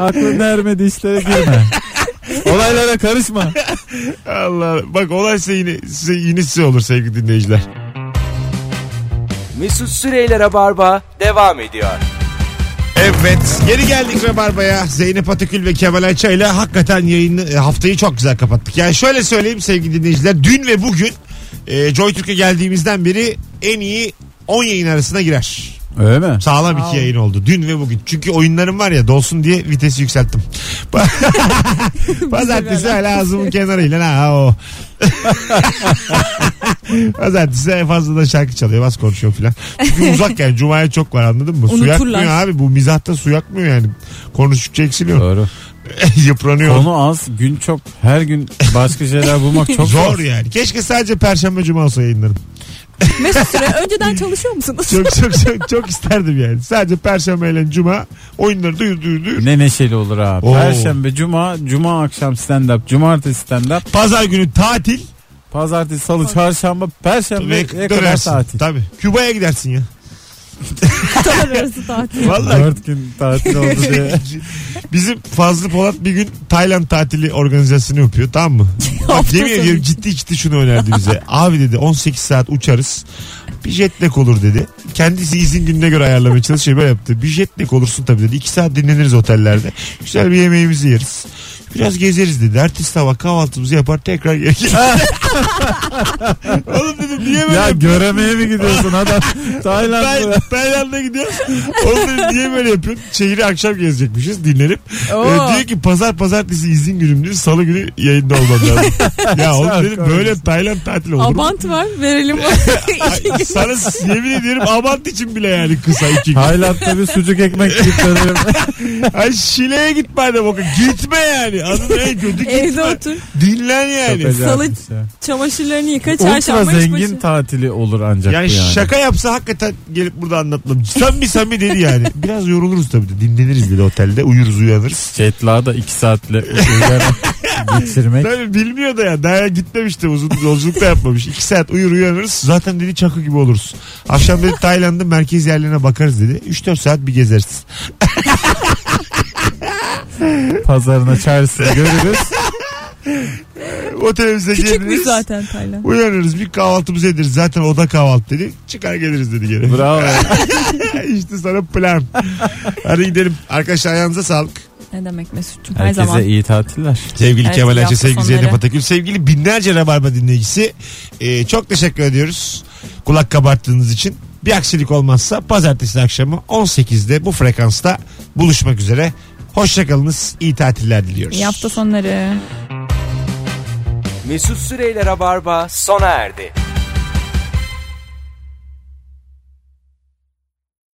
[SPEAKER 3] Aklın ermedi işlere girme. Olaylara karışma.
[SPEAKER 2] Allah Allah. Bak olaysa yine size yine size olur sevgili dinleyiciler.
[SPEAKER 1] Mesut Süreyler'e barba devam ediyor.
[SPEAKER 2] Evet geri geldik Rabarba'ya. Zeynep Atakül ve Kemal Ayça ile hakikaten yayını, e, haftayı çok güzel kapattık. Yani şöyle söyleyeyim sevgili dinleyiciler. Dün ve bugün e, Joy Türk'e geldiğimizden beri en iyi 10 yayın arasına girer.
[SPEAKER 3] Öyle mi?
[SPEAKER 2] Sağlam iki yayın oldu. Dün ve bugün. Çünkü oyunlarım var ya dolsun diye vitesi yükselttim. Pazartesi hala ağzımın kenarıyla. Ha, ha, o. Pazartesi en fazla da şarkı çalıyor. Az konuşuyor filan. Çünkü uzak yani. Cuma'ya çok var anladın mı? Su
[SPEAKER 4] Unuturlar.
[SPEAKER 2] yakmıyor abi. Bu mizahta su yakmıyor yani. Konuştukça eksiliyor.
[SPEAKER 3] Doğru.
[SPEAKER 2] Yıpranıyor.
[SPEAKER 3] Konu az, gün çok. Her gün başka şeyler bulmak çok zor.
[SPEAKER 2] Zor yani. Keşke sadece Perşembe Cuma olsa yayınlarım.
[SPEAKER 4] Mesut Süre önceden çalışıyor musunuz?
[SPEAKER 2] Çok çok çok, çok isterdim yani. Sadece Perşembe ile Cuma oyunları duyur duyur duyur.
[SPEAKER 3] Ne neşeli olur abi.
[SPEAKER 2] Oo.
[SPEAKER 3] Perşembe, cuma, cuma akşam stand up, cumartesi stand up,
[SPEAKER 2] Pazar günü tatil.
[SPEAKER 3] pazartesi, salı, çarşamba, perşembe ne
[SPEAKER 2] Ve
[SPEAKER 3] kadar
[SPEAKER 2] dönersin.
[SPEAKER 3] tatil.
[SPEAKER 2] Tabii. Küba'ya gidersin ya.
[SPEAKER 4] Kıtalar arası tatil.
[SPEAKER 2] Vallahi
[SPEAKER 3] Dört gün tatil oldu diye.
[SPEAKER 2] Bizim Fazlı Polat bir gün Tayland tatili organizasyonu yapıyor tamam mı? Bak
[SPEAKER 4] Hafta
[SPEAKER 2] yemin
[SPEAKER 4] sonu
[SPEAKER 2] ediyorum
[SPEAKER 4] için.
[SPEAKER 2] ciddi ciddi şunu önerdi bize. Abi dedi 18 saat uçarız. Bir jet lag olur dedi. Kendisi izin gününe göre ayarlamaya çalışıyor. Böyle yaptı. Bir jet lag olursun tabii dedi. 2 saat dinleniriz otellerde. Güzel bir yemeğimizi yeriz. Biraz gezeriz dedi. Ertesi sabah kahvaltımızı yapar tekrar geri gelir. Oğlum dedim niye böyle
[SPEAKER 3] Ya göremeye mi gidiyorsun adam? Tayland'a.
[SPEAKER 2] Tay- Tayland'a gidiyoruz. Orada niye böyle yapıyorsun? Şehri akşam gezecekmişiz dinlenip.
[SPEAKER 4] Oo.
[SPEAKER 2] Ee, diyor ki pazar pazartesi izin günüm diyor. Salı günü yayında olmam lazım. ya oğlum dedim böyle Tayland tatili olur mu?
[SPEAKER 4] Abant var verelim. İki gün.
[SPEAKER 2] Sana s- yemin ediyorum abant için bile yani kısa iki gün.
[SPEAKER 3] Tayland'da bir sucuk ekmek çıkarıyorum.
[SPEAKER 2] Ay Şile'ye git madem o kadar. Gitme yani. Anladın mı? En kötü gitme.
[SPEAKER 4] Evde otur.
[SPEAKER 2] Dinlen yani.
[SPEAKER 4] Salı-
[SPEAKER 3] şey.
[SPEAKER 4] Çamaşırlarını yıka çarşamba
[SPEAKER 3] Ultra
[SPEAKER 4] iş
[SPEAKER 3] zengin
[SPEAKER 4] başı.
[SPEAKER 3] tatili olur ancak
[SPEAKER 2] Yani
[SPEAKER 3] bu yani.
[SPEAKER 2] şaka yapsa hakikaten gelip burada anlatmam. Samimi samimi dedi yani. Biraz yoruluruz tabii de. Dinleniriz dedi otelde. Uyuruz uyanırız.
[SPEAKER 3] Jetla da 2 saatle uyuyarak geçirmek.
[SPEAKER 2] Tabii bilmiyor da ya. Daha gitmemişti uzun yolculuk da yapmamış. İki saat uyur uyanırız. Zaten dedi çakı gibi oluruz. Akşam dedi Tayland'ın merkez yerlerine bakarız dedi. 3-4 saat bir gezeriz.
[SPEAKER 3] Pazarına çarşısını görürüz.
[SPEAKER 2] Otelimize
[SPEAKER 4] Küçükmüş
[SPEAKER 2] geliriz.
[SPEAKER 4] zaten Tayland.
[SPEAKER 2] Uyanırız bir kahvaltımızı ederiz. Zaten oda kahvaltı dedi. Çıkar geliriz dedi gene.
[SPEAKER 3] Bravo.
[SPEAKER 2] işte sana plan. Hadi gidelim. Arkadaşlar ayağınıza sağlık.
[SPEAKER 4] Ne demek Mesut'cum her zaman.
[SPEAKER 3] Herkese iyi tatiller.
[SPEAKER 2] Sevgili
[SPEAKER 4] Evet,
[SPEAKER 2] Kemal
[SPEAKER 4] iyi
[SPEAKER 2] Ayça,
[SPEAKER 4] hafta
[SPEAKER 2] sevgili
[SPEAKER 4] sonları.
[SPEAKER 2] Zeynep Atakül, sevgili binlerce Rabarba dinleyicisi. Ee, çok teşekkür ediyoruz kulak kabarttığınız için. Bir aksilik olmazsa pazartesi akşamı 18'de bu frekansta buluşmak üzere. Hoşçakalınız, iyi tatiller diliyoruz.
[SPEAKER 4] İyi hafta sonları.
[SPEAKER 1] Mesut Süreyler'e barba sona erdi.